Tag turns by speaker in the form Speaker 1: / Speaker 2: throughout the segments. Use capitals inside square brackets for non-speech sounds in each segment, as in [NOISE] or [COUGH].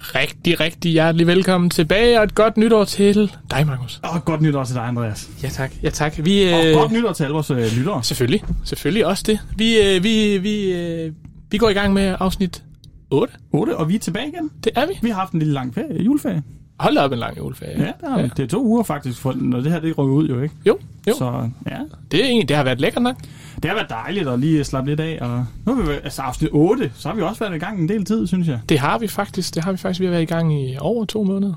Speaker 1: rigtig, rigtig hjertelig velkommen tilbage, og et godt nytår til dig, Markus.
Speaker 2: Og godt nytår til dig, Andreas.
Speaker 1: Ja tak, ja tak. Vi,
Speaker 2: Og godt nytår til alle vores øh, lyttere.
Speaker 1: selvfølgelig, selvfølgelig også det. Vi, øh, vi, vi, øh, vi går i gang med afsnit 8.
Speaker 2: 8, og vi er tilbage igen.
Speaker 1: Det er vi.
Speaker 2: Vi har haft en lille lang ferie, juleferie.
Speaker 1: Hold da op en lang juleferie.
Speaker 2: Ja, der er, ja. det er to uger faktisk, for den, og det her det rykker ud jo, ikke?
Speaker 1: Jo, jo. Så.
Speaker 2: Så ja,
Speaker 1: Det, er egentlig, det har været lækkert nok.
Speaker 2: det har været dejligt at lige slappe lidt af. Og nu har vi været- altså afsnit 8, så har vi også været i gang en del tid, synes jeg.
Speaker 1: Det har vi faktisk. Det har vi faktisk. Vi har været i gang i over to måneder.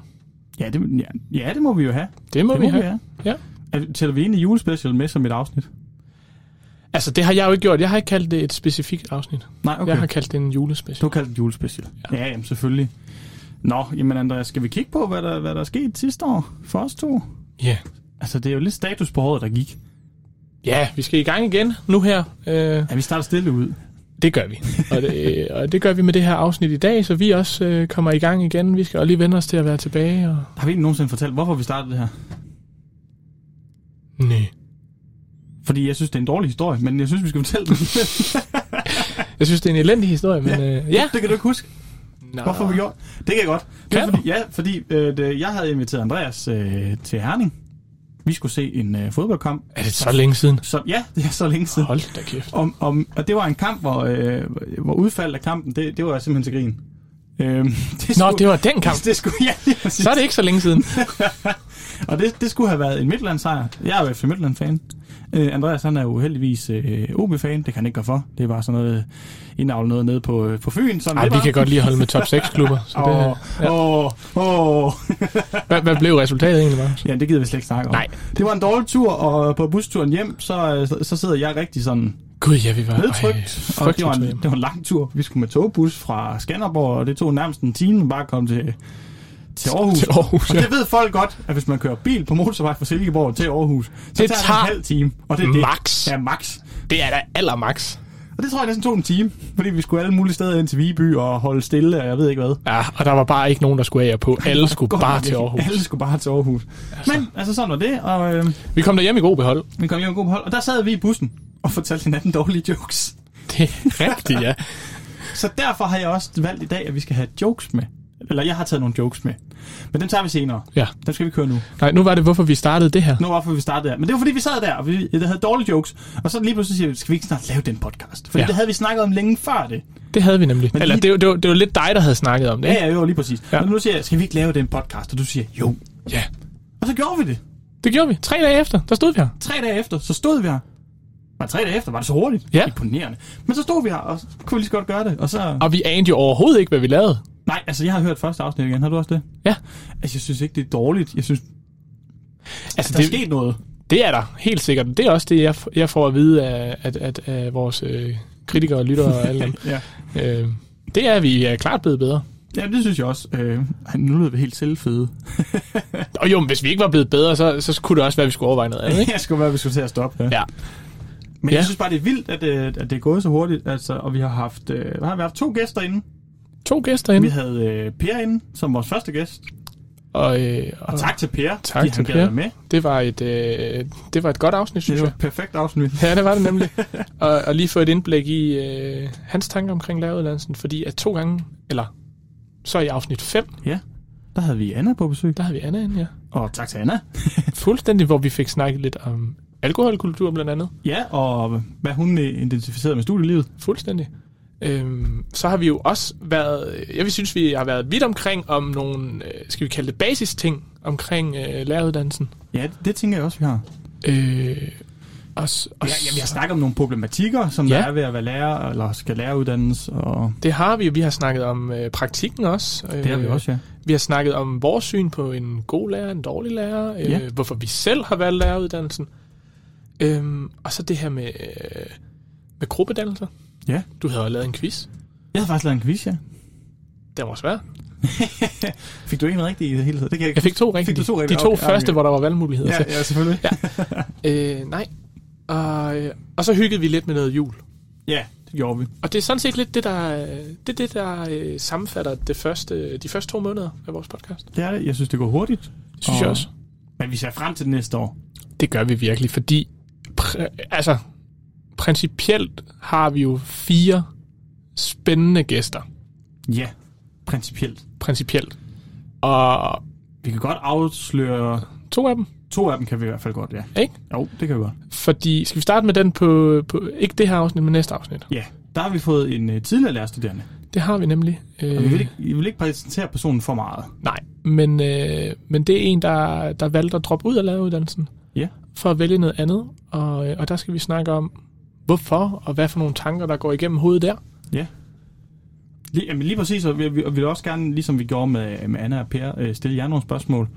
Speaker 2: Ja, det, ja, ja, det må vi jo have.
Speaker 1: Det må,
Speaker 2: Det
Speaker 1: vi,
Speaker 2: må vi
Speaker 1: have.
Speaker 2: have.
Speaker 1: Ja.
Speaker 2: Altså, Tæller vi egentlig julespecial med som et afsnit?
Speaker 1: Altså, det har jeg jo ikke gjort. Jeg har ikke kaldt det et specifikt afsnit. Okay.
Speaker 2: Nej, okay.
Speaker 1: Jeg har kaldt det en julespecial.
Speaker 2: Du har kaldt det julespecial. Ja, ja jamen, selvfølgelig. Nå, jamen Andreas, skal vi kigge på, hvad der, hvad der er sket sidste år for os to?
Speaker 1: Ja. Yeah.
Speaker 2: Altså, det er jo lidt status på året, der gik.
Speaker 1: Ja, vi skal i gang igen nu her. Øh,
Speaker 2: Ja, vi starter stille ud.
Speaker 1: det gør vi. Og det, øh, og det gør vi med det her afsnit i dag, så vi også øh, kommer i gang igen. Vi skal også lige vende os til at være tilbage. Og...
Speaker 2: Har vi ikke nogensinde fortalt, hvorfor vi startede det her?
Speaker 1: Nej.
Speaker 2: Fordi jeg synes, det er en dårlig historie, men jeg synes, vi skal fortælle den.
Speaker 1: Jeg synes, det er en elendig historie, men øh, [LAUGHS] ja.
Speaker 2: det kan du ikke huske.
Speaker 1: Nå.
Speaker 2: Hvorfor vi gjorde det? kan jeg godt. Det er
Speaker 1: Kan
Speaker 2: fordi, ja, fordi øh, det, jeg havde inviteret Andreas øh, til Herning. Vi skulle se en øh, fodboldkamp.
Speaker 1: Er det så længe siden?
Speaker 2: Så, ja, [LAUGHS] det er så længe siden.
Speaker 1: Hold da kæft.
Speaker 2: Om, om, og det var en kamp, hvor, øh, hvor udfaldet af kampen, det, det var simpelthen til grin. Øh, [LAUGHS] det
Speaker 1: Nå, det var den kamp.
Speaker 2: [LAUGHS] Det skulle, ja, lige præcis.
Speaker 1: Så er det ikke så længe siden.
Speaker 2: Og det, det skulle have været en Midtland-sejr. Jeg er jo FC Midtland-fan. Øh, Andreas han er jo heldigvis øh, OB-fan. Det kan han ikke gøre for. Det er bare sådan noget indavlet noget nede på, øh, på Fyn. Sådan
Speaker 1: [LAUGHS] Nej, vi kan godt lige holde med top 6 klubber. Så det,
Speaker 2: Åh, åh, åh.
Speaker 1: hvad, hvad blev resultatet egentlig, Markus?
Speaker 2: Ja, det gider vi slet ikke snakke om.
Speaker 1: Nej.
Speaker 2: Det var en dårlig tur, og på busturen hjem, så, øh, så- så sidder jeg rigtig sådan
Speaker 1: Gud, ja, vi var...
Speaker 2: nedtrykt.
Speaker 1: Ej,
Speaker 2: og det var, en,
Speaker 1: frygteligt.
Speaker 2: det var en lang tur. Vi skulle med togbus fra Skanderborg, og det tog nærmest en time bare at komme til, til Aarhus.
Speaker 1: Til Aarhus,
Speaker 2: Og
Speaker 1: ja.
Speaker 2: det ved folk godt, at hvis man kører bil på motorvej fra Silkeborg til Aarhus, så det tager
Speaker 1: tager
Speaker 2: det en halv time. Og det er
Speaker 1: max.
Speaker 2: Det. Ja, max.
Speaker 1: Det er da allermax.
Speaker 2: Og det tror jeg næsten tog en time, fordi vi skulle alle mulige steder ind til Viby og holde stille, og jeg ved ikke hvad.
Speaker 1: Ja, og der var bare ikke nogen, der skulle af og på. Alle skulle
Speaker 2: Godt
Speaker 1: bare
Speaker 2: nok
Speaker 1: til
Speaker 2: ikke.
Speaker 1: Aarhus.
Speaker 2: Alle skulle bare til Aarhus. Altså. Men altså sådan var det, og øh,
Speaker 1: Vi kom derhjemme i god behold.
Speaker 2: vi kom hjem i god hold. Og der sad vi i bussen og fortalte hinanden dårlige jokes.
Speaker 1: Det er rigtigt, ja.
Speaker 2: Så derfor har jeg også valgt i dag, at vi skal have jokes med. Eller jeg har taget nogle jokes med. Men dem tager vi senere.
Speaker 1: Ja.
Speaker 2: Dem skal vi køre nu.
Speaker 1: Nej, nu var det, hvorfor vi startede det her.
Speaker 2: Nu var vi startede der. Men det var fordi, vi sad der, og vi der havde dårlige jokes. Og så lige pludselig siger vi, skal vi ikke snart lave den podcast? Fordi
Speaker 1: Ja.
Speaker 2: ja. det havde vi snakket om længe før det.
Speaker 1: Det havde vi nemlig.
Speaker 2: Men
Speaker 1: Eller
Speaker 2: lige-
Speaker 1: det, var- det, var, det var lidt dig, der havde snakket om det,
Speaker 2: Ja,
Speaker 1: ikke?
Speaker 2: ja, jo, lige præcis.
Speaker 1: Ja.
Speaker 2: Ja. Og nu siger jeg, skal vi ikke lave den podcast? Og du siger, jo.
Speaker 1: Ja.
Speaker 2: Og så gjorde vi det.
Speaker 1: Det gjorde vi. Tre dage efter, der stod vi her.
Speaker 2: Tre dage efter, så stod vi her. Var det tre dage efter? Var det så hurtigt?
Speaker 1: Ja.
Speaker 2: Imponerende. Men så stod vi her, og så kunne vi lige så godt gøre det. Og så...
Speaker 1: Og vi anede jo overhovedet ikke, hvad vi lavede.
Speaker 2: Nej, altså jeg har hørt første afsnit igen. Har du også det?
Speaker 1: Ja.
Speaker 2: Altså jeg synes ikke, det er dårligt. Jeg synes,
Speaker 1: Altså,
Speaker 2: der er
Speaker 1: det,
Speaker 2: sket noget.
Speaker 1: det er der helt sikkert. Det er også det, jeg, f- jeg får at vide af, at, at, af vores øh, kritikere og lyttere og
Speaker 2: [LAUGHS]
Speaker 1: alle dem.
Speaker 2: Ja.
Speaker 1: øh, det er, at vi er klart blevet bedre.
Speaker 2: Ja, det synes jeg også. Øh, ej, nu lyder vi helt selvfede.
Speaker 1: Og jo, men hvis vi ikke var blevet bedre, så, så kunne det også være, at vi skulle overveje noget andet,
Speaker 2: [LAUGHS]
Speaker 1: ikke?
Speaker 2: jeg skulle være, vi skulle til at stoppe.
Speaker 1: Ja.
Speaker 2: Men
Speaker 1: Ja.
Speaker 2: jeg synes bare, det er vildt, at, øh, at det er gået så hurtigt. Altså, og vi har haft, øh, hvad har vi haft to gæster inde.
Speaker 1: To gæster
Speaker 2: Vi
Speaker 1: inde.
Speaker 2: havde øh, Per inde som vores første gæst.
Speaker 1: Og, øh,
Speaker 2: Og
Speaker 1: og
Speaker 2: tak til Per,
Speaker 1: Tak
Speaker 2: fordi
Speaker 1: til
Speaker 2: han
Speaker 1: Per.
Speaker 2: gad være med.
Speaker 1: det, var et, øh, det var et godt afsnit, synes
Speaker 2: Det var
Speaker 1: jeg.
Speaker 2: et perfekt afsnit.
Speaker 1: [LAUGHS] Ja, det var det nemlig. og, og lige få et indblik i øh, hans tanker omkring læreruddannelsen, fordi at to gange, eller så i afsnit 5,
Speaker 2: Ja, der havde vi Anna på besøg.
Speaker 1: der havde vi Anna ind, ja.
Speaker 2: Og tak til Anna.
Speaker 1: Fuldstændig, hvor vi fik snakket lidt om alkoholkultur blandt andet.
Speaker 2: Ja, og hvad hun øh, identificerede med studielivet.
Speaker 1: Fuldstændig. Øhm, så har vi jo også været, jeg vil synes, vi har været vidt omkring om nogle, øh, skal vi kalde det basisting, omkring øh, læreruddannelsen.
Speaker 2: Ja, det, det tænker jeg også, vi har.
Speaker 1: Øh, og, s- og,
Speaker 2: Ja,
Speaker 1: s-
Speaker 2: ja, vi har snakket om nogle problematikker, som
Speaker 1: Ja.
Speaker 2: ja. der er ved at være lærer, eller skal læreruddannes. Og
Speaker 1: det har vi, vi har snakket om øh, praktikken også. Øh,
Speaker 2: det har vi også, ja.
Speaker 1: Vi har snakket om vores syn på en god lærer, en dårlig lærer, øh,
Speaker 2: Ja.
Speaker 1: hvorfor vi selv har valgt læreruddannelsen. Øhm, og så det her med, øh, med gruppedannelser.
Speaker 2: Ja.
Speaker 1: Du havde jo lavet en quiz.
Speaker 2: Jeg havde faktisk lavet en quiz, ja.
Speaker 1: Den var svær.
Speaker 2: Fik du ikke en rigtig i det hele taget? Det kan jeg ikke.
Speaker 1: Jeg fik to rigtige.
Speaker 2: du to rigtige?
Speaker 1: De to
Speaker 2: Okay,
Speaker 1: første,
Speaker 2: okay.
Speaker 1: hvor der var valgmuligheder
Speaker 2: Ja, ja, selvfølgelig. Ja.
Speaker 1: til. Øh, nej. Og, øh, og så hyggede vi lidt med noget jul.
Speaker 2: ja, det gjorde vi.
Speaker 1: Og det er sådan set lidt det, der, øh, det, er det, der øh, sammenfatter det første, de første to måneder af vores podcast.
Speaker 2: Det er det. Jeg synes, det går hurtigt.
Speaker 1: Synes jeg
Speaker 2: Og-
Speaker 1: også.
Speaker 2: Men vi ser frem til det næste år.
Speaker 1: Det gør vi virkelig, fordi pr- altså, principielt har vi jo fire spændende gæster.
Speaker 2: Ja, principielt.
Speaker 1: principielt. Og
Speaker 2: Vi kan godt afsløre...
Speaker 1: to af dem,
Speaker 2: To af dem kan vi i hvert fald godt, ja.
Speaker 1: ikke?
Speaker 2: Jo, det kan vi godt.
Speaker 1: Fordi, skal vi starte med den på, på ikke det her afsnit, men næste afsnit?
Speaker 2: Ja, der har vi fået en øh, tidligere lærerstuderende.
Speaker 1: Det har vi nemlig.
Speaker 2: Og vi vil ikke, vi vil ikke præsentere personen for meget.
Speaker 1: Nej, men, øh, men det er en, der, der valgte at droppe ud af læreruddannelsen
Speaker 2: Ja.
Speaker 1: for at vælge noget andet. Og, øh, og der skal vi snakke om, hvorfor og hvad for nogle tanker, der går igennem hovedet der.
Speaker 2: Ja. Lige, jamen lige præcis, og vi, vi, og vi vil også gerne, ligesom vi gjorde med, med Anna og Per, øh, stille jer nogle spørgsmål.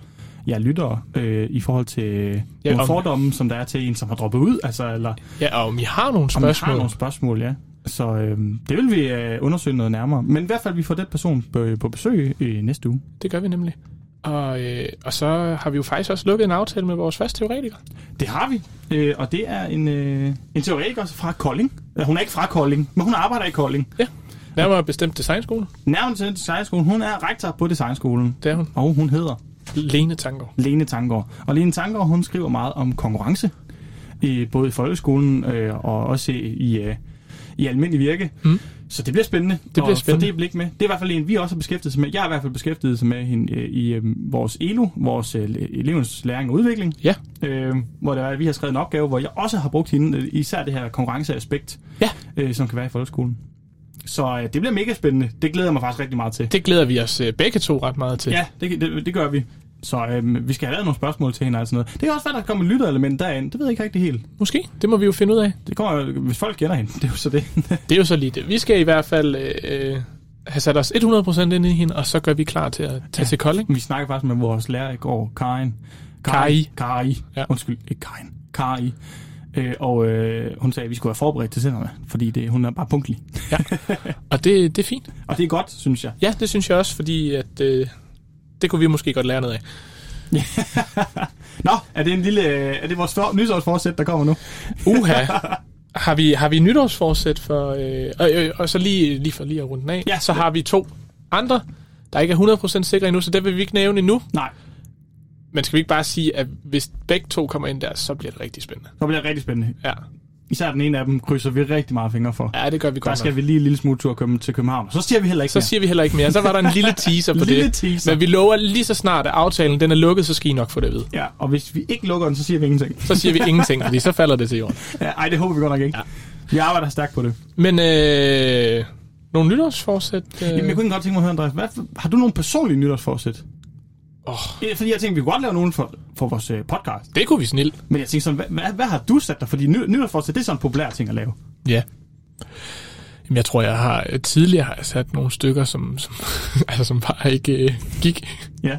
Speaker 2: Jeg lytter øh, i forhold til øh, ja, nogle
Speaker 1: om-
Speaker 2: fordomme, som der er til en, som har droppet ud, altså, eller
Speaker 1: Ja, og om I har nogle
Speaker 2: om man har
Speaker 1: spørgsmål.
Speaker 2: nogle spørgsmål, ja. Så øh, det vil vi øh, undersøge noget nærmere. Men i hvert fald, vi får den person på, på besøg øh, næste uge.
Speaker 1: Det gør vi nemlig. Og, øh, og så har vi jo faktisk også lukket en aftale med vores første teoretiker.
Speaker 2: Det har vi, øh, og det er en, øh, en teoretiker fra Kolding. Øh, Hun er ikke fra Kolding, men hun arbejder i Kolding.
Speaker 1: Ja. Nærmere bestemt designskolen.
Speaker 2: Nærmest til designskolen. Hun er rektor på designskolen,
Speaker 1: Det er hun.
Speaker 2: og hun hedder
Speaker 1: Lene Tanker.
Speaker 2: Lene Tanggaard. Og Lene Tanggaard, hun skriver meget om konkurrence, i, både i folkeskolen øh, og også i, øh, i almindelig virke. Mm. Så det bliver spændende. Det
Speaker 1: bliver spændende.
Speaker 2: det blik med. Det er i hvert fald en, vi også har beskæftiget sig med. Jeg har i hvert fald beskæftiget sig med hende øh, i øh, vores ELO, vores øh, elevens læring og udvikling,
Speaker 1: Ja.
Speaker 2: øh, hvor det er, at vi har skrevet en opgave, hvor jeg også har brugt hende, øh, især det her konkurrenceaspekt,
Speaker 1: Ja.
Speaker 2: øh, som kan være i folkeskolen. Så øh, det bliver mega spændende. Det glæder jeg mig faktisk rigtig meget til.
Speaker 1: Det glæder vi os øh, begge to ret meget til.
Speaker 2: Ja, det, det, det gør vi. Så øhm, vi skal have lavet nogle spørgsmål til hende og sådan noget. Det kan også være, der kommer et lytterelement derind. Det ved jeg ikke rigtig helt.
Speaker 1: Måske. Det må vi jo finde ud af.
Speaker 2: Det kommer, jo- hvis folk kender hende, [LAUGHS] det er jo så det.
Speaker 1: Det er jo så lige det. Vi skal i hvert fald øh, øh, have sat os 100% ind i hende, og så gør vi klar til at tage ja. til Kolding.
Speaker 2: vi snakker faktisk med vores lærer i går, Karin.
Speaker 1: Kari.
Speaker 2: Kari.
Speaker 1: Ja.
Speaker 2: Ja. Undskyld, ikke Karin. Kari. Øh, og øh, hun sagde, at vi skulle være forberedt til senderne, fordi det, hun er bare punktlig.
Speaker 1: Og det, det er fint.
Speaker 2: Og det er godt, synes jeg.
Speaker 1: Ja, det synes jeg også, fordi at, øh, det kunne vi måske godt lære noget af.
Speaker 2: Nå, er det en lille, øh, er det vores for, nytårsforsæt, der kommer nu?
Speaker 1: Uha. Har vi, har vi nytårsforsæt for... Øh, og, øh, og så lige, lige for lige at runde den af,
Speaker 2: Ja.
Speaker 1: så har vi to andre, der ikke er 100% sikre endnu, så det vil vi ikke nævne endnu.
Speaker 2: Nej,
Speaker 1: Men skal vi ikke bare sige, at hvis begge to kommer ind der, så bliver det rigtig spændende.
Speaker 2: så bliver det rigtig spændende.
Speaker 1: Ja,
Speaker 2: Især den ene af dem krydser vi rigtig meget fingre for.
Speaker 1: ja det gør vi
Speaker 2: Der
Speaker 1: godt
Speaker 2: skal
Speaker 1: skal vi.
Speaker 2: vi lige en lille smule tur kø- til København. Så siger vi heller ikke
Speaker 1: Så
Speaker 2: mere.
Speaker 1: siger vi heller ikke mere. Så var der en [LAUGHS] lille teaser på
Speaker 2: Lille
Speaker 1: det.
Speaker 2: teaser.
Speaker 1: Men vi lover lige så snart, at aftalen den er lukket, så skal I nok få det at vide.
Speaker 2: Ja, og hvis vi ikke lukker den, så siger vi ingenting. [LAUGHS]
Speaker 1: Så siger [LAUGHS] vi ingenting, fordi så falder det til jorden.
Speaker 2: Ja, Ej, det håber vi godt nok ikke. Ja. Vi arbejder stærkt på det.
Speaker 1: Men øh, nogle nytårsforsæt? Øh,
Speaker 2: Jamen, jeg kunne ikke godt tænke mig at høre, Andreas, hvad, for- har du nogle personlige nytårsforsæt?
Speaker 1: Åh.
Speaker 2: Eh, Fordi jeg tænkte, vi kunne godt lave nogen for, for vores øh, podcast.
Speaker 1: det kunne vi snilt.
Speaker 2: Men jeg tænkte sådan, hvad, hvad, hvad har du sat dig? Fordi ny, nytårsforsæt, det er sådan en populær ting at lave.
Speaker 1: Ja. Jamen, jeg tror, jeg har øh, tidligere har jeg sat nogle stykker, som, som, [LAUGHS] altså, som bare ikke øh, gik.
Speaker 2: Ja.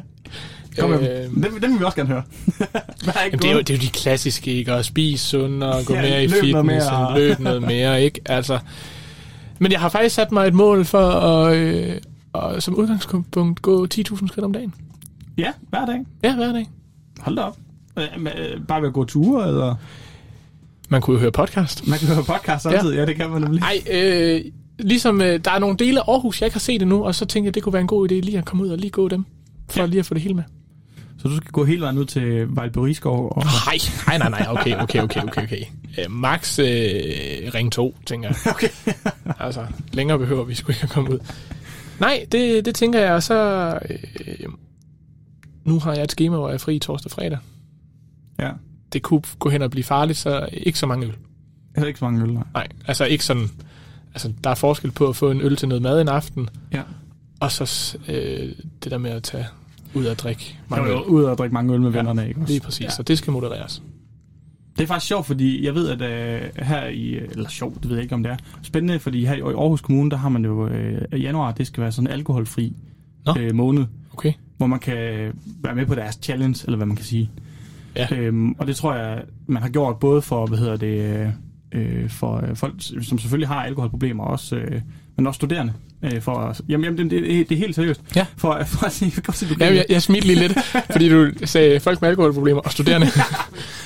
Speaker 2: Kom med
Speaker 1: Øh,
Speaker 2: dem. dem. Dem vil vi også gerne høre. [LAUGHS] hvad er ikke
Speaker 1: Jamen, det, er jo,
Speaker 2: gået?
Speaker 1: det er jo de klassiske, ikke? At spise sundere, gå
Speaker 2: Ja,
Speaker 1: mere i
Speaker 2: løb noget
Speaker 1: fitness,
Speaker 2: mere.
Speaker 1: og løb noget
Speaker 2: [LAUGHS]
Speaker 1: mere, ikke? Altså, men jeg har faktisk sat mig et mål for at, øh, at som udgangspunkt gå 10.000 skridt om dagen.
Speaker 2: Ja, hver dag.
Speaker 1: Ja, hver dag.
Speaker 2: Hold da op. Øh, men, øh, bare ved at gå ture, eller...
Speaker 1: Man kunne jo høre podcast.
Speaker 2: Man kan høre podcast samtidig. Ja, ja det kan man nemlig.
Speaker 1: Nej, øh, ligesom øh, der er nogle dele af Aarhus, jeg ikke har set endnu, og så tænkte jeg, det kunne være en god idé lige at komme ud og lige gå dem, for ja. lige at få det hele med.
Speaker 2: Så du skal gå hele vejen ud til Vejlberiskov og...
Speaker 1: Nej, nej, nej, nej, okay, okay, okay, okay, okay. Øh, max øh, ring 2, tænker jeg.
Speaker 2: Okay.
Speaker 1: Altså, længere behøver vi sgu ikke at komme ud. Nej, det, det tænker jeg, og så... Øh, nu har jeg et schema, hvor jeg er fri torsdag og fredag.
Speaker 2: ja.
Speaker 1: Det kunne gå hen og blive farligt, så ikke så mange øl.
Speaker 2: Heller ikke så mange øl, nej.
Speaker 1: Nej, altså ikke sådan... Altså, der er forskel på at få en øl til noget mad en aften,
Speaker 2: Ja.
Speaker 1: og så s- øh, det der med at tage ud og drikke
Speaker 2: Man
Speaker 1: mange
Speaker 2: er jo
Speaker 1: øl.
Speaker 2: ude og drikke mange øl med ja. vennerne, ikke også?
Speaker 1: Lige præcis, ja. så det skal modereres.
Speaker 2: Det er faktisk sjovt, fordi jeg ved, at øh, her i... Eller sjovt, det ved jeg ikke, om det er. Spændende, fordi her i Aarhus Kommune, der har man jo... Øh, i januar, det skal være sådan en alkoholfri
Speaker 1: Nå.
Speaker 2: øh, måned,
Speaker 1: Okay?
Speaker 2: hvor man kan være med på deres challenge, eller hvad man kan sige.
Speaker 1: Ja.
Speaker 2: Øhm, og det tror jeg, man har gjort både for, hvad hedder det... Øh, for øh, folk, som selvfølgelig har alkoholproblemer også... Øh, men også studerende. Øh, for, at- jamen, jamen det, det, det er helt seriøst.
Speaker 1: Ja.
Speaker 2: For, for at sige, [LAUGHS] jeg kan godt se, du
Speaker 1: Ja,
Speaker 2: griner.
Speaker 1: jeg, jeg smilte lige lidt, fordi du sagde folk med alkoholproblemer og studerende.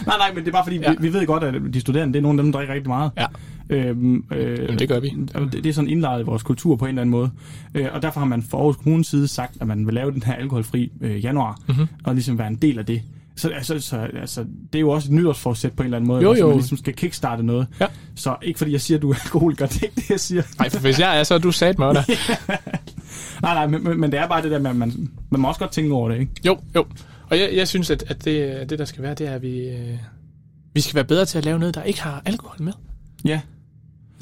Speaker 2: Nej, nej, men det er bare fordi,
Speaker 1: Ja.
Speaker 2: ja. vi, vi ved godt, at de studerende, det er nogle af dem, der drikker rigtig meget.
Speaker 1: Ja.
Speaker 2: Øhm, øh,
Speaker 1: Jamen, det gør vi.
Speaker 2: og Det, det er sådan indlejret i vores kultur på en eller anden måde. Øh, og derfor har man fra Aarhus Kommunes side sagt, at man vil lave den her alkoholfri øh, januar, mm-hmm. og ligesom være en del af det. Så altså, så altså, det er jo også et nytårsforsæt på en eller anden måde,
Speaker 1: Jo,
Speaker 2: også, at
Speaker 1: jo.
Speaker 2: man ligesom skal kickstarte noget.
Speaker 1: Ja.
Speaker 2: [LAUGHS] Så ikke fordi jeg siger, at du er alkoholiker, det er ikke det, jeg siger.
Speaker 1: Nej, for hvis jeg er, så er du sat mig der.
Speaker 2: nej, nej, men, men, men det er bare det der med, at man, man må også godt tænke over det, ikke?
Speaker 1: Jo, jo. Og jeg, jeg synes, at, at det, det, der skal være, det er, at vi, øh, vi skal være bedre til at lave noget, der ikke har alkohol med.
Speaker 2: Ja.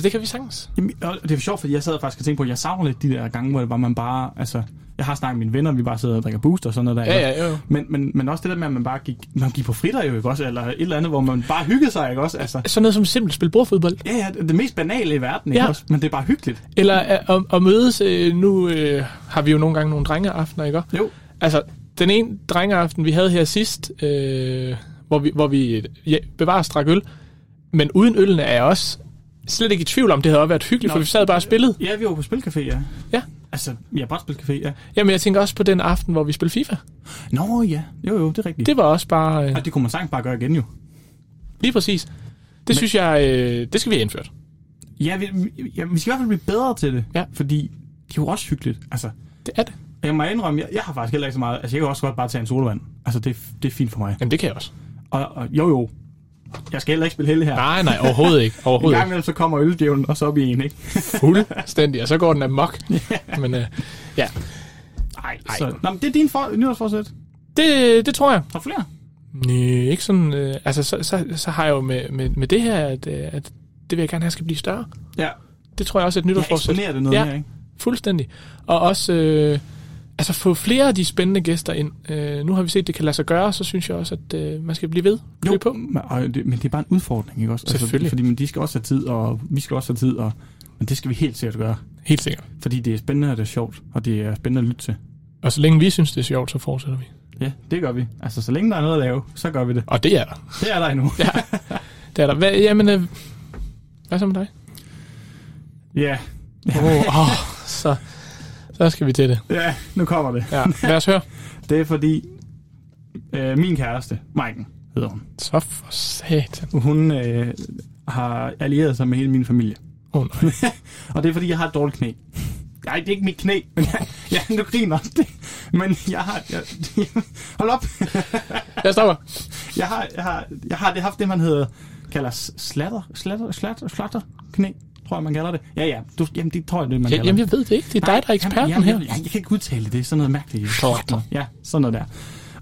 Speaker 1: Det kan vi sagtens.
Speaker 2: Jamen, og det er sjovt, fordi jeg sad faktisk og tænkte på, at jeg savner lidt de der gange, hvor det var, man bare, altså, jeg har snakket med mine venner, vi bare sidder og drikker booster og sådan noget der.
Speaker 1: Ja,
Speaker 2: ikke?
Speaker 1: ja, jo. jo.
Speaker 2: Men, men, men også det der med, at man bare gik, man gik på fridag, jo, ikke også? Eller et eller andet, hvor man bare hyggede sig, ikke også? Altså,
Speaker 1: Sådan noget som simpelt spil bordfodbold.
Speaker 2: ja, ja, det mest banale i verden, ikke
Speaker 1: Ja.
Speaker 2: også? Men det er bare hyggeligt.
Speaker 1: Eller øh, at, at mødes. Øh, nu øh, har vi jo nogle gange nogle drengeaftener, ikke?
Speaker 2: Jo.
Speaker 1: Altså, den ene drengeaften, vi havde her sidst, øh, hvor vi, hvor vi ja, bevarer strak øl, men uden ølene er jeg også slet ikke i tvivl om, det havde også været hyggeligt, Nå,
Speaker 2: Nå,
Speaker 1: for vi sad bare og spillede.
Speaker 2: Ja, vi var på Spilcafé, ja.
Speaker 1: Ja.
Speaker 2: Altså, ja, bare Spilcafé, ja.
Speaker 1: Jamen, jeg tænker også på den aften, hvor vi spillede FIFA.
Speaker 2: Nå, ja. Jo, jo, det er rigtigt.
Speaker 1: Det var også bare... Øh,
Speaker 2: Og det kunne man sagtens bare gøre igen, jo.
Speaker 1: lige præcis. Det men, synes jeg, øh, det skal vi have indført.
Speaker 2: Ja vi, vi- ja, vi skal i hvert fald blive bedre til det.
Speaker 1: Ja.
Speaker 2: Fordi det er jo også hyggeligt. Altså,
Speaker 1: Det er det.
Speaker 2: jeg må indrømme, jeg, jeg har faktisk heller ikke så meget... Altså, jeg kan også godt bare tage en solvand. Altså, det, det er fint for mig.
Speaker 1: Jamen, det kan jeg også.
Speaker 2: Og, og jo, jo. Jeg skal heller ikke spille heldig her.
Speaker 1: Nej, nej, overhovedet ikke.
Speaker 2: en
Speaker 1: Overhovedet
Speaker 2: gang
Speaker 1: ikke.
Speaker 2: imellem, så kommer øldjævlen, og så op i en, ikke?
Speaker 1: Fuldstændig. Og så går den amok. Men øh, [LAUGHS] ja,
Speaker 2: Nej, Så, nå, men det er din for, nyårsforsæt.
Speaker 1: det, det tror jeg.
Speaker 2: Har du flere?
Speaker 1: Nej, ikke sådan... Øh, altså, så, så, så har jeg jo med, med, med det her, at, øh, at det vil jeg gerne have skal blive større.
Speaker 2: Ja.
Speaker 1: Det tror jeg også er et
Speaker 2: Jeg
Speaker 1: nytårsforsæt.
Speaker 2: eksponerer det noget
Speaker 1: Ja.
Speaker 2: mere, ikke?
Speaker 1: Fuldstændig. Og også øh, altså få flere af de spændende gæster ind. Øh, nu har vi set, at det kan lade sig gøre, så synes jeg også, at øh, man skal blive ved. Blive på.
Speaker 2: men, og det, men det er bare en udfordring, ikke også? Altså,
Speaker 1: Selvfølgelig.
Speaker 2: fordi men de skal også have tid, og vi skal også have tid, og, men det skal vi helt sikkert gøre.
Speaker 1: Helt sikkert.
Speaker 2: Fordi det er spændende, og det er sjovt, og det er spændende at lytte til.
Speaker 1: Og så længe vi synes, det er sjovt, så fortsætter vi.
Speaker 2: Ja, det gør vi. Altså, så længe der er noget at lave, så gør vi det.
Speaker 1: Og det er der.
Speaker 2: Det er der endnu. Ja.
Speaker 1: Det er der. Hvad, jamen, øh, hvad så med dig?
Speaker 2: Ja,
Speaker 1: Oh, oh, så, så skal vi til det.
Speaker 2: ja nu kommer det.
Speaker 1: Ja. Lad os høre.
Speaker 2: Det er fordi, øh, min kæreste, Maiken hedder hun,
Speaker 1: Så for satan.
Speaker 2: hun øh, har allieret sig med hele min familie.
Speaker 1: Åh oh, nej.
Speaker 2: Og det er fordi, jeg har et dårligt knæ. Nej, det er ikke mit knæ, men jeg, ja, nu griner det. Men jeg har... Jeg, [LAUGHS] hold op!
Speaker 1: Jeg stopper.
Speaker 2: Jeg har, jeg har, jeg har det haft det, man hedder, kalder s- slatter, slatter, slatter, slatter knæ, tror jeg, man kalder det. Ja, ja, du, jamen det tror jeg, det er, man
Speaker 1: Ja,
Speaker 2: kalder
Speaker 1: jamen,
Speaker 2: det.
Speaker 1: jeg ved det ikke. Det er dig, der er eksperten
Speaker 2: jamen,
Speaker 1: her.
Speaker 2: Jeg, jeg, jeg, kan ikke udtale det, det er sådan noget mærkeligt.
Speaker 1: Slatter.
Speaker 2: Ja, sådan noget der.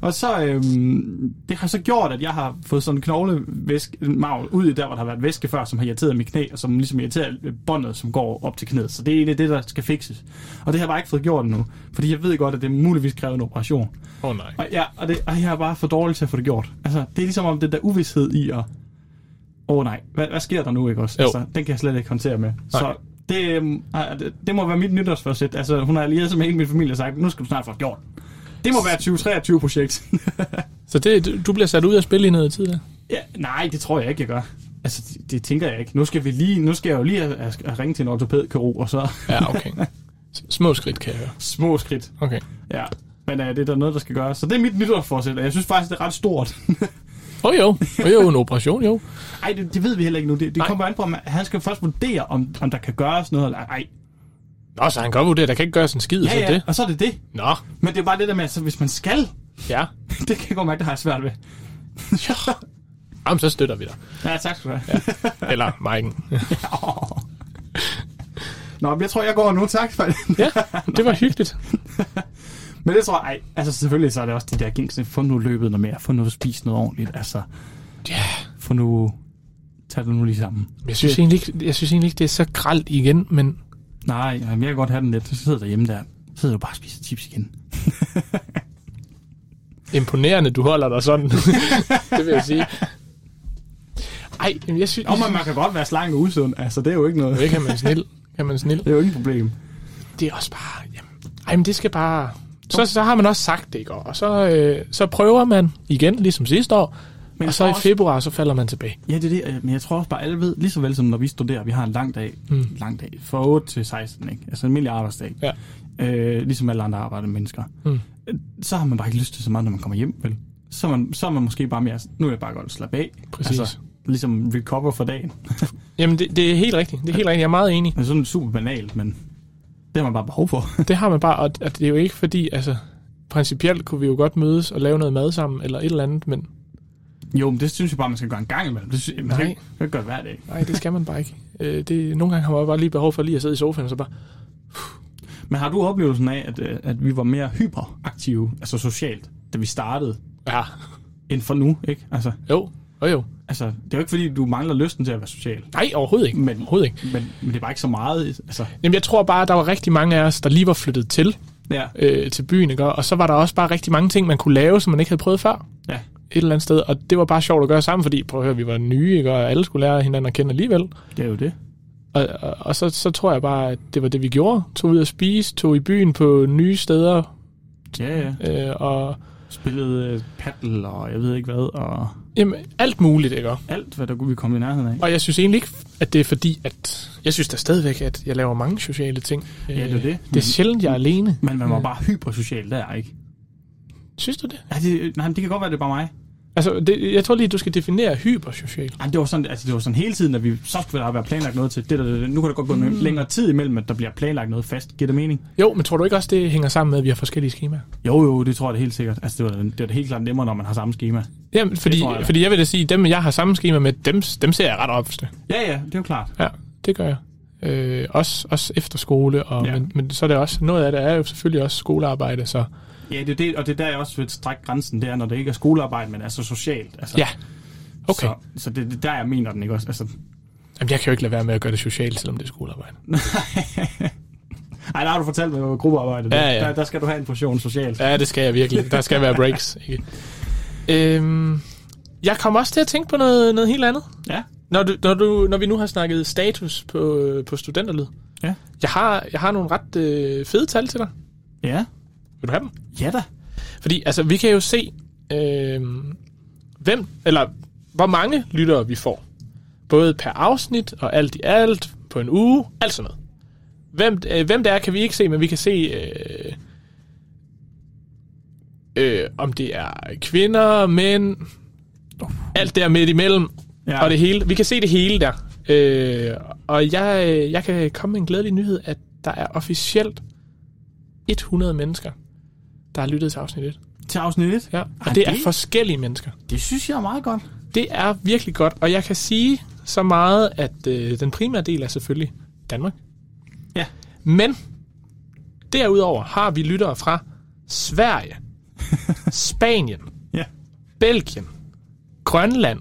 Speaker 2: Og så, øhm, det har så gjort, at jeg har fået sådan en knoglevæsk, en magl ud i der, hvor der har været væske før, som har irriteret mit knæ, og som ligesom irriterer øh, båndet, som går op til knæet. Så det er egentlig det, der skal fikses. Og det har jeg bare ikke fået gjort endnu, fordi jeg ved godt, at det muligvis kræver en operation.
Speaker 1: Åh oh, nej.
Speaker 2: Og, ja, og, det, og jeg er bare for dårlig til at få det gjort. Altså, det er ligesom om den der uvidshed i at... Åh oh, nej, hvad, hvad sker der nu, ikke også?
Speaker 1: Jo.
Speaker 2: Altså, den kan jeg slet ikke håndtere med. Så det, øhm, ej, det, det må være mit nytårsforsæt. Altså, hun har allieret sig med hele min familie og sagt, nu skal du snart få det gjort. Det må være 2023-projekt.
Speaker 1: Så det, du- du bliver sat ud af spil i noget tid der?
Speaker 2: [LAUGHS] ja, nej, det tror jeg ikke, jeg gør. Altså, det, det tænker jeg ikke. Nu skal, vi lige, nu skal jeg jo lige have, have ringe til en ortopædkirurg, og så [LAUGHS]
Speaker 1: Ja, okay. S- [LAUGHS] Små skridt, kan jeg høre.
Speaker 2: små skridt.
Speaker 1: Okay.
Speaker 2: Ja, men øh, det er der noget, der skal gøres. Så det er mit nytårsforsæt, og jeg synes faktisk, det er ret stort.
Speaker 1: Åh oh, jo, oh, jo, en operation, jo.
Speaker 2: Ej, det, det ved vi heller ikke nu. Det, det
Speaker 1: Nej.
Speaker 2: kommer an på, om han skal først vurdere, om, om der kan gøres noget eller ej.
Speaker 1: Nå, så han kan godt vurdere, der kan ikke gøres en skid,
Speaker 2: Ja,
Speaker 1: så
Speaker 2: ja,
Speaker 1: det.
Speaker 2: og så er Altså, det det.
Speaker 1: Nå,
Speaker 2: Men det er bare det der med, at så hvis man skal, [LAUGHS]
Speaker 1: ja.
Speaker 2: det kan jeg godt mærke, det har jeg svært ved.
Speaker 1: Jamen, så støtter vi dig.
Speaker 2: Ja, tak skal du have. Ja.
Speaker 1: Eller Mike'en.
Speaker 2: Nå, men jeg tror, jeg går nu. Tak for det.
Speaker 1: [LAUGHS]
Speaker 2: [LAUGHS]
Speaker 1: Ja, det var hyggeligt.
Speaker 2: Men det tror jeg, ej, altså selvfølgelig så er det også det der gængse, få nu løbet noget mere, få nu spist noget ordentligt, altså
Speaker 1: Ja,
Speaker 2: få nu, tag det nu lige sammen.
Speaker 1: jeg synes, egentlig ikke, jeg synes egentlig ikke, det er så gralt igen, men
Speaker 2: Nej, jamen, jeg kan godt have den lidt, så sidder derhjemme der, så sidder du bare og spiser chips igen.
Speaker 1: imponerende, du holder dig [LAUGHS] sådan. det vil jeg sige. Ej, jamen, jeg synes...
Speaker 2: Nå, men man kan godt være slank og usund, altså det er jo ikke noget,
Speaker 1: Ikke kan man snil. Kan man snil.
Speaker 2: det er jo ikke et problem.
Speaker 1: Det er også bare... Jamen, ej, men det skal bare... Så, så har man også sagt det i går, og så, øh, så prøver man igen, ligesom sidste år, men
Speaker 2: Men
Speaker 1: og så i
Speaker 2: også-
Speaker 1: februar, så falder man tilbage.
Speaker 2: Ja, det er det, øh, men jeg tror også bare, alle ved, lige så vel som når vi studerer, vi har en lang dag, mm. lang dag, fra 8 til 16, ikke? altså en almindelig arbejdsdag,
Speaker 1: Ja.
Speaker 2: øh, ligesom alle andre arbejdende mennesker, mm. så har man bare ikke lyst til så meget, når man kommer hjem, vel? Så er man, så er man måske bare mere, sådan, nu er jeg bare godt slappe af,
Speaker 1: Præcis.
Speaker 2: ligesom recover for dagen.
Speaker 1: Jamen, det, det er helt rigtigt. Det er helt rigtigt. Jeg er meget enig.
Speaker 2: Det er sådan super banalt, men det har man bare behov for. [LAUGHS]
Speaker 1: Det har man bare, og og det er jo ikke fordi, altså, principielt kunne vi jo godt mødes og lave noget mad sammen, eller et eller andet, men
Speaker 2: jo, men det synes jeg bare, man skal gøre en gang imellem. Det synes, man
Speaker 1: Nej.
Speaker 2: kan ikke man kan ikke gøre det hver dag.
Speaker 1: [LAUGHS] nej, det skal man bare ikke. Øh, det, nogle gange har man bare lige behov for lige at sidde i sofaen, og så bare,
Speaker 2: Men har du oplevelsen af, at, øh, at vi var mere hyperaktive, altså socialt, da vi startede,
Speaker 1: Ja,
Speaker 2: end for nu, ikke? Altså,
Speaker 1: jo, jo, jo.
Speaker 2: altså det er jo ikke, fordi du mangler lysten til at være social,
Speaker 1: Nej, overhovedet ikke.
Speaker 2: Men-
Speaker 1: Men, overhovedet ikke.
Speaker 2: men, men det er bare ikke så meget, altså,
Speaker 1: Jamen, jeg tror bare, at der var rigtig mange af os, der lige var flyttet til,
Speaker 2: ja,
Speaker 1: øh, til byen, ikke? og så var der også bare rigtig mange ting, man kunne lave, som man ikke havde prøvet før
Speaker 2: ja,
Speaker 1: et eller andet sted, og det var bare sjovt at gøre sammen, fordi, prøv at høre, vi var nye, ikke? og alle skulle lære hinanden at kende alligevel,
Speaker 2: det er jo det.
Speaker 1: og, og, og så, så tror jeg bare, at det var det, vi gjorde. Tog ud og spise, tog i byen på nye steder,
Speaker 2: Ja, ja.
Speaker 1: øh, og
Speaker 2: Spillede øh, paddle og jeg ved ikke hvad, og
Speaker 1: jamen, alt muligt, ikke?
Speaker 2: alt, hvad der kunne vi komme i nærheden af.
Speaker 1: Og jeg synes egentlig ikke, at det er fordi, at... Jeg synes da stadigvæk, at jeg laver mange sociale ting.
Speaker 2: det er jo
Speaker 1: Øh,
Speaker 2: det.
Speaker 1: Det er sjældent, jeg er alene.
Speaker 2: Men man var bare hypersocial der, ikke?
Speaker 1: Synes du det?
Speaker 2: Ja, det, nej, men det kan godt være, det er bare mig.
Speaker 1: Altså, det, jeg tror lige, du skal definere hypersocial.
Speaker 2: Ej, det var sådan, altså, det var sådan hele tiden, at vi så skulle der være planlagt noget til. Det, der, det, det. Nu kan der godt gå mm. længere tid imellem, at der bliver planlagt noget fast. Giver det mening?
Speaker 1: Jo, men tror du ikke også, det hænger sammen med, at vi har forskellige skemaer?
Speaker 2: Jo, jo, det tror jeg da helt sikkert. Altså, det var, det var da helt klart nemmere, når man har samme schema.
Speaker 1: Jamen, fordi,
Speaker 2: tror jeg da.
Speaker 1: jeg, fordi jeg vil da sige, dem jeg har samme schema med, dem, dem ser jeg ret ofte.
Speaker 2: Ja, ja, det er jo klart.
Speaker 1: Ja, det gør jeg. Øh, også, også efter skole, og,
Speaker 2: Ja.
Speaker 1: ja. men, men så er det også, noget af det er jo selvfølgelig også skolearbejde, så
Speaker 2: Ja, det er det, og det er der, jeg også vil strække grænsen, det er, når det ikke er skolearbejde, men altså socialt. Altså,
Speaker 1: ja. Okay.
Speaker 2: Så, så det, det er der, jeg mener den, ikke også? Altså,
Speaker 1: Jamen, jeg kan jo ikke lade være med at gøre det socialt, selvom det er skolearbejde.
Speaker 2: ej, der har du fortalt mig, hvor gruppearbejde det er.
Speaker 1: Ja, ja.
Speaker 2: Der, der, skal du have en portion socialt.
Speaker 1: Ja, det skal jeg virkelig. Der skal være breaks. Ikke? Øhm, jeg kom også til at tænke på noget, noget helt andet.
Speaker 2: Ja.
Speaker 1: Når, du, når, du, når vi nu har snakket status på, øh, på studenterlyd.
Speaker 2: Ja.
Speaker 1: Jeg har, jeg har nogle ret øh, fede tal til dig.
Speaker 2: Ja.
Speaker 1: Vil du have dem?
Speaker 2: Ja da.
Speaker 1: Fordi altså, vi kan jo se, øh, hvem, eller hvor mange lyttere vi får. Både per afsnit og alt i alt, på en uge, alt sådan noget. Hvem, øh, hvem det er, kan vi ikke se, men vi kan se, øh, øh, om det er kvinder, mænd, alt der midt imellem,
Speaker 2: Ja.
Speaker 1: og det hele. Vi kan se det hele der. Øh, og jeg, øh, jeg kan komme med en glædelig nyhed, at der er officielt 100 mennesker, der har lyttet til afsnit 1.
Speaker 2: Til afsnit 1.
Speaker 1: Ja, og
Speaker 2: Ej,
Speaker 1: det er
Speaker 2: det-
Speaker 1: forskellige mennesker.
Speaker 2: Det synes jeg er meget godt.
Speaker 1: Det er virkelig godt, og jeg kan sige så meget, at øh, den primære del er selvfølgelig Danmark.
Speaker 2: Ja.
Speaker 1: Men derudover har vi lyttere fra [LAUGHS] Sverige, Spanien,
Speaker 2: Ja. [LAUGHS]
Speaker 1: Belgien, Grønland,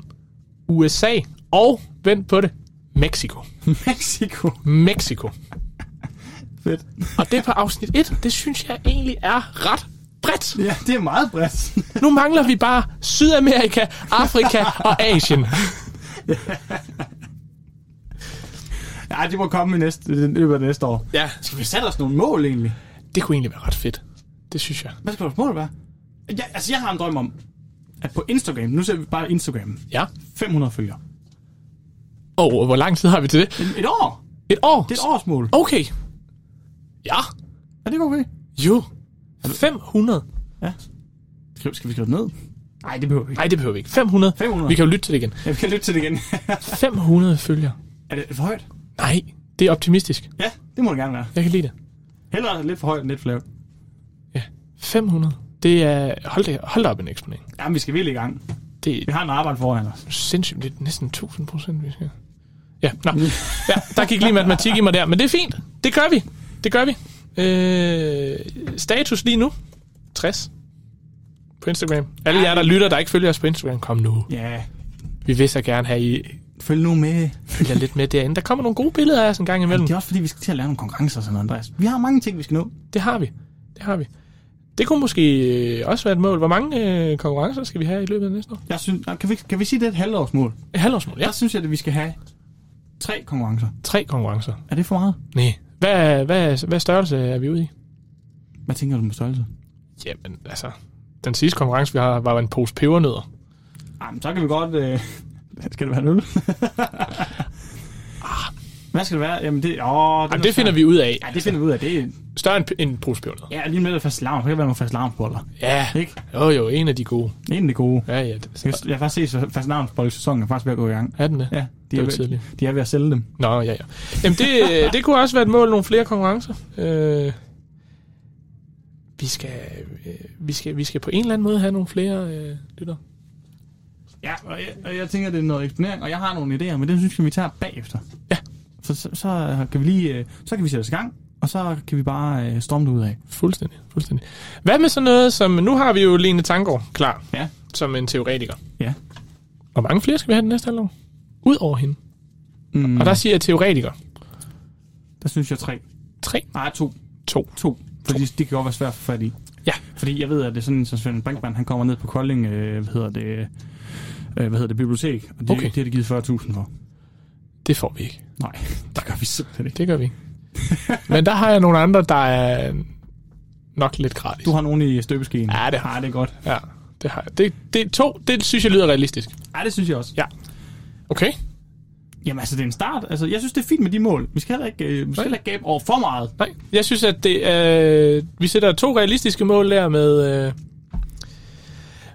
Speaker 1: USA og, vent på det, Mexico.
Speaker 2: Mexico.
Speaker 1: Mexico.
Speaker 2: Fedt.
Speaker 1: Og det er på afsnit 1. Det synes jeg egentlig er ret bredt.
Speaker 2: Ja, det er meget bredt. [LAUGHS]
Speaker 1: Nu mangler vi bare Sydamerika, Afrika og Asien.
Speaker 2: ja, det må komme i næste, i løbet af næste år.
Speaker 1: Ja,
Speaker 2: Skal vi sætte os nogle mål egentlig?
Speaker 1: det kunne egentlig være ret fedt. Det synes jeg.
Speaker 2: Hvad skal vores mål være? Jeg, altså, jeg har en drøm om, at på Instagram, nu ser vi bare Instagram,
Speaker 1: Ja.
Speaker 2: 500 følgere.
Speaker 1: Og hvor lang tid har vi til det?
Speaker 2: Et år!
Speaker 1: Et år?
Speaker 2: Det er et årsmål.
Speaker 1: Okay. Ja.
Speaker 2: Er det okay?
Speaker 1: Jo. 500.
Speaker 2: Skal, skal vi skrive det ned? Nej, det behøver vi ikke.
Speaker 1: Nej, det behøver vi ikke. 500.
Speaker 2: 500.
Speaker 1: Vi kan jo lytte til det igen.
Speaker 2: Ja, vi kan lytte til det igen.
Speaker 1: 500 følgere.
Speaker 2: [LAUGHS] er det for højt?
Speaker 1: Nej, det er optimistisk.
Speaker 2: Ja, det må det gerne være.
Speaker 1: Jeg kan lide det.
Speaker 2: Hellere lidt for højt end lidt for lavt.
Speaker 1: Ja. 500. Det er... Hold, det, hold da op en eksponering.
Speaker 2: Jamen, vi skal virkelig i gang.
Speaker 1: Det
Speaker 2: Vi
Speaker 1: er
Speaker 2: har en arbejde foran os.
Speaker 1: sindssygt. Det er næsten 1000 procent, vi skal... Ja, nå. Ja, der gik lige matematik i mig der, men det er fint. Det gør vi. Det gør vi. Øh, status lige nu. 60. På Instagram. Alle jer, der lytter, der ikke følger os på Instagram, kom nu.
Speaker 2: Ja,
Speaker 1: Vi vil så gerne have, at I
Speaker 2: følg nu med.
Speaker 1: følger lidt med derinde. Der kommer nogle gode billeder af os en gang imellem.
Speaker 2: Det er også fordi, vi skal til at lave nogle konkurrencer og sådan noget, Andreas. Vi har mange ting, vi skal nå.
Speaker 1: Det har vi. Det har vi. Det kunne måske øh, også være et mål. Hvor mange øh, konkurrencer skal vi have i løbet af næste år?
Speaker 2: Jeg synes, kan, vi, kan vi sige, det er et halvårsmål?
Speaker 1: Et halvårsmål, ja.
Speaker 2: Jeg synes, at vi skal have tre konkurrencer.
Speaker 1: Tre konkurrencer.
Speaker 2: Er det for meget?
Speaker 1: Nej. Hvad, hvad, hvad størrelse er vi ude i?
Speaker 2: Hvad tænker du med størrelse?
Speaker 1: Jamen, altså... Den sidste konkurrence, vi har, var jo en pose pebernødder.
Speaker 2: Jamen, så kan vi godt... [LAUGHS] Øh... Skal det være en [LAUGHS] øl? Hvad skal det være? Ah. Jamen, det... Åh,
Speaker 1: Jamen, det finder vi ud af.
Speaker 2: Ja, det finder vi ud af. Det er,
Speaker 1: Større end, end en pose pebernødder.
Speaker 2: ja, lige med det fast lavn. Så kan det være nogle fast lavnsboller.
Speaker 1: Ja.
Speaker 2: Ikke?
Speaker 1: Jo, jo, en af de gode.
Speaker 2: Det er egentlig gode.
Speaker 1: Ja, ja. Det,
Speaker 2: Jeg jeg har faktisk set, at fast lavnsbolle-sæsonen er faktisk ved at gå i gang.
Speaker 1: er den det?
Speaker 2: Ja, de
Speaker 1: Det
Speaker 2: er,
Speaker 1: er jo
Speaker 2: ved,
Speaker 1: tidligt.
Speaker 2: de er ved at sælge dem.
Speaker 1: Nå, ja, ja. Jamen, det, øh, det kunne også være et mål, nogle flere konkurrencer. Øh, vi, skal, øh, vi, skal, vi skal på en eller anden måde have nogle flere øh, lytter.
Speaker 2: Ja, og jeg, og jeg tænker, det er noget eksponering, og jeg har nogle idéer, men det synes jeg, vi tager bagefter.
Speaker 1: Ja.
Speaker 2: Så, så, så kan vi lige, øh, så kan vi sætte os i gang, og så kan vi bare øh, storme det ud af.
Speaker 1: Fuldstændig, fuldstændig. Hvad med sådan noget som... Nu har vi jo Lene Tangård klar
Speaker 2: Ja.
Speaker 1: som en teoretiker.
Speaker 2: Ja.
Speaker 1: Hvor mange flere skal vi have den næste halvår? Ud over hende.
Speaker 2: Mm,
Speaker 1: Og der siger jeg teoretiker.
Speaker 2: der synes jeg tre.
Speaker 1: Tre.
Speaker 2: Nej, to.
Speaker 1: To.
Speaker 2: To. Fordi det kan godt være svært for fat i.
Speaker 1: Ja.
Speaker 2: Fordi jeg ved, at det er sådan en som Svend Brinkmann, han kommer ned på Kolding, øh, hvad hedder det, øh, hvad hedder det, bibliotek, og det,
Speaker 1: Okay.
Speaker 2: okay. det har de givet 40.000 for.
Speaker 1: Det får vi ikke.
Speaker 2: Nej, [LAUGHS] der gør vi simpelthen ikke.
Speaker 1: Det gør vi ikke. Men der har jeg nogle andre, der er nok lidt gratis.
Speaker 2: Du har nogen i støbeskeen.
Speaker 1: Ja, det har
Speaker 2: jeg. Ja, det er godt.
Speaker 1: Ja, det har jeg. Det, det, to, det synes jeg lyder realistisk.
Speaker 2: Ja, det synes jeg også.
Speaker 1: Ja. Okay.
Speaker 2: Jamen altså, det er en start. Altså, jeg synes, det er fint med de mål. Vi skal heller ikke, øh, vi skal
Speaker 1: Nej.
Speaker 2: heller ikke gabe over for meget.
Speaker 1: Nej, jeg synes, at det er, vi sætter to realistiske mål der med, øh,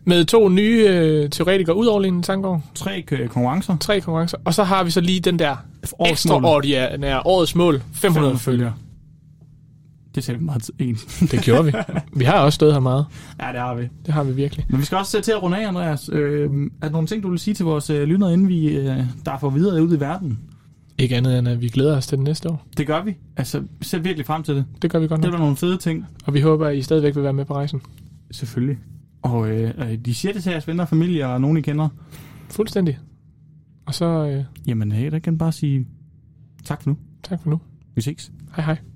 Speaker 1: med to nye øh, teoretikere ud over Lene Tangård.
Speaker 2: Tre øh, konkurrencer.
Speaker 1: Tre konkurrencer. Og så har vi så lige den der
Speaker 2: Årets mål.
Speaker 1: ekstraordinære årets mål. 500 følgere.
Speaker 2: Det sagde vi meget tid. En.
Speaker 1: Det gjorde vi. Vi har også stået her meget.
Speaker 2: [LAUGHS] ja, det har vi.
Speaker 1: Det har vi virkelig.
Speaker 2: Men vi skal også øh, til at runde af, Andreas. Øh, er der nogle ting, du vil sige til vores øh, lyttere, inden vi øh, der får videre ud i verden?
Speaker 1: Ikke andet end, at vi glæder os til det næste år.
Speaker 2: Det gør vi. Altså, vi ser virkelig frem til det.
Speaker 1: Det gør vi godt
Speaker 2: Det
Speaker 1: nok.
Speaker 2: var nogle fede ting.
Speaker 1: Og vi håber, at I stadigvæk vil være med på rejsen.
Speaker 2: Selvfølgelig. Og øh, øh, de siger det til jeres venner, familie og nogen, I kender.
Speaker 1: Fuldstændig. Og så øh,
Speaker 2: Jamen, hey, der kan jeg bare sige tak for nu.
Speaker 1: tak for nu.
Speaker 2: Vi ses.
Speaker 1: Hej hej.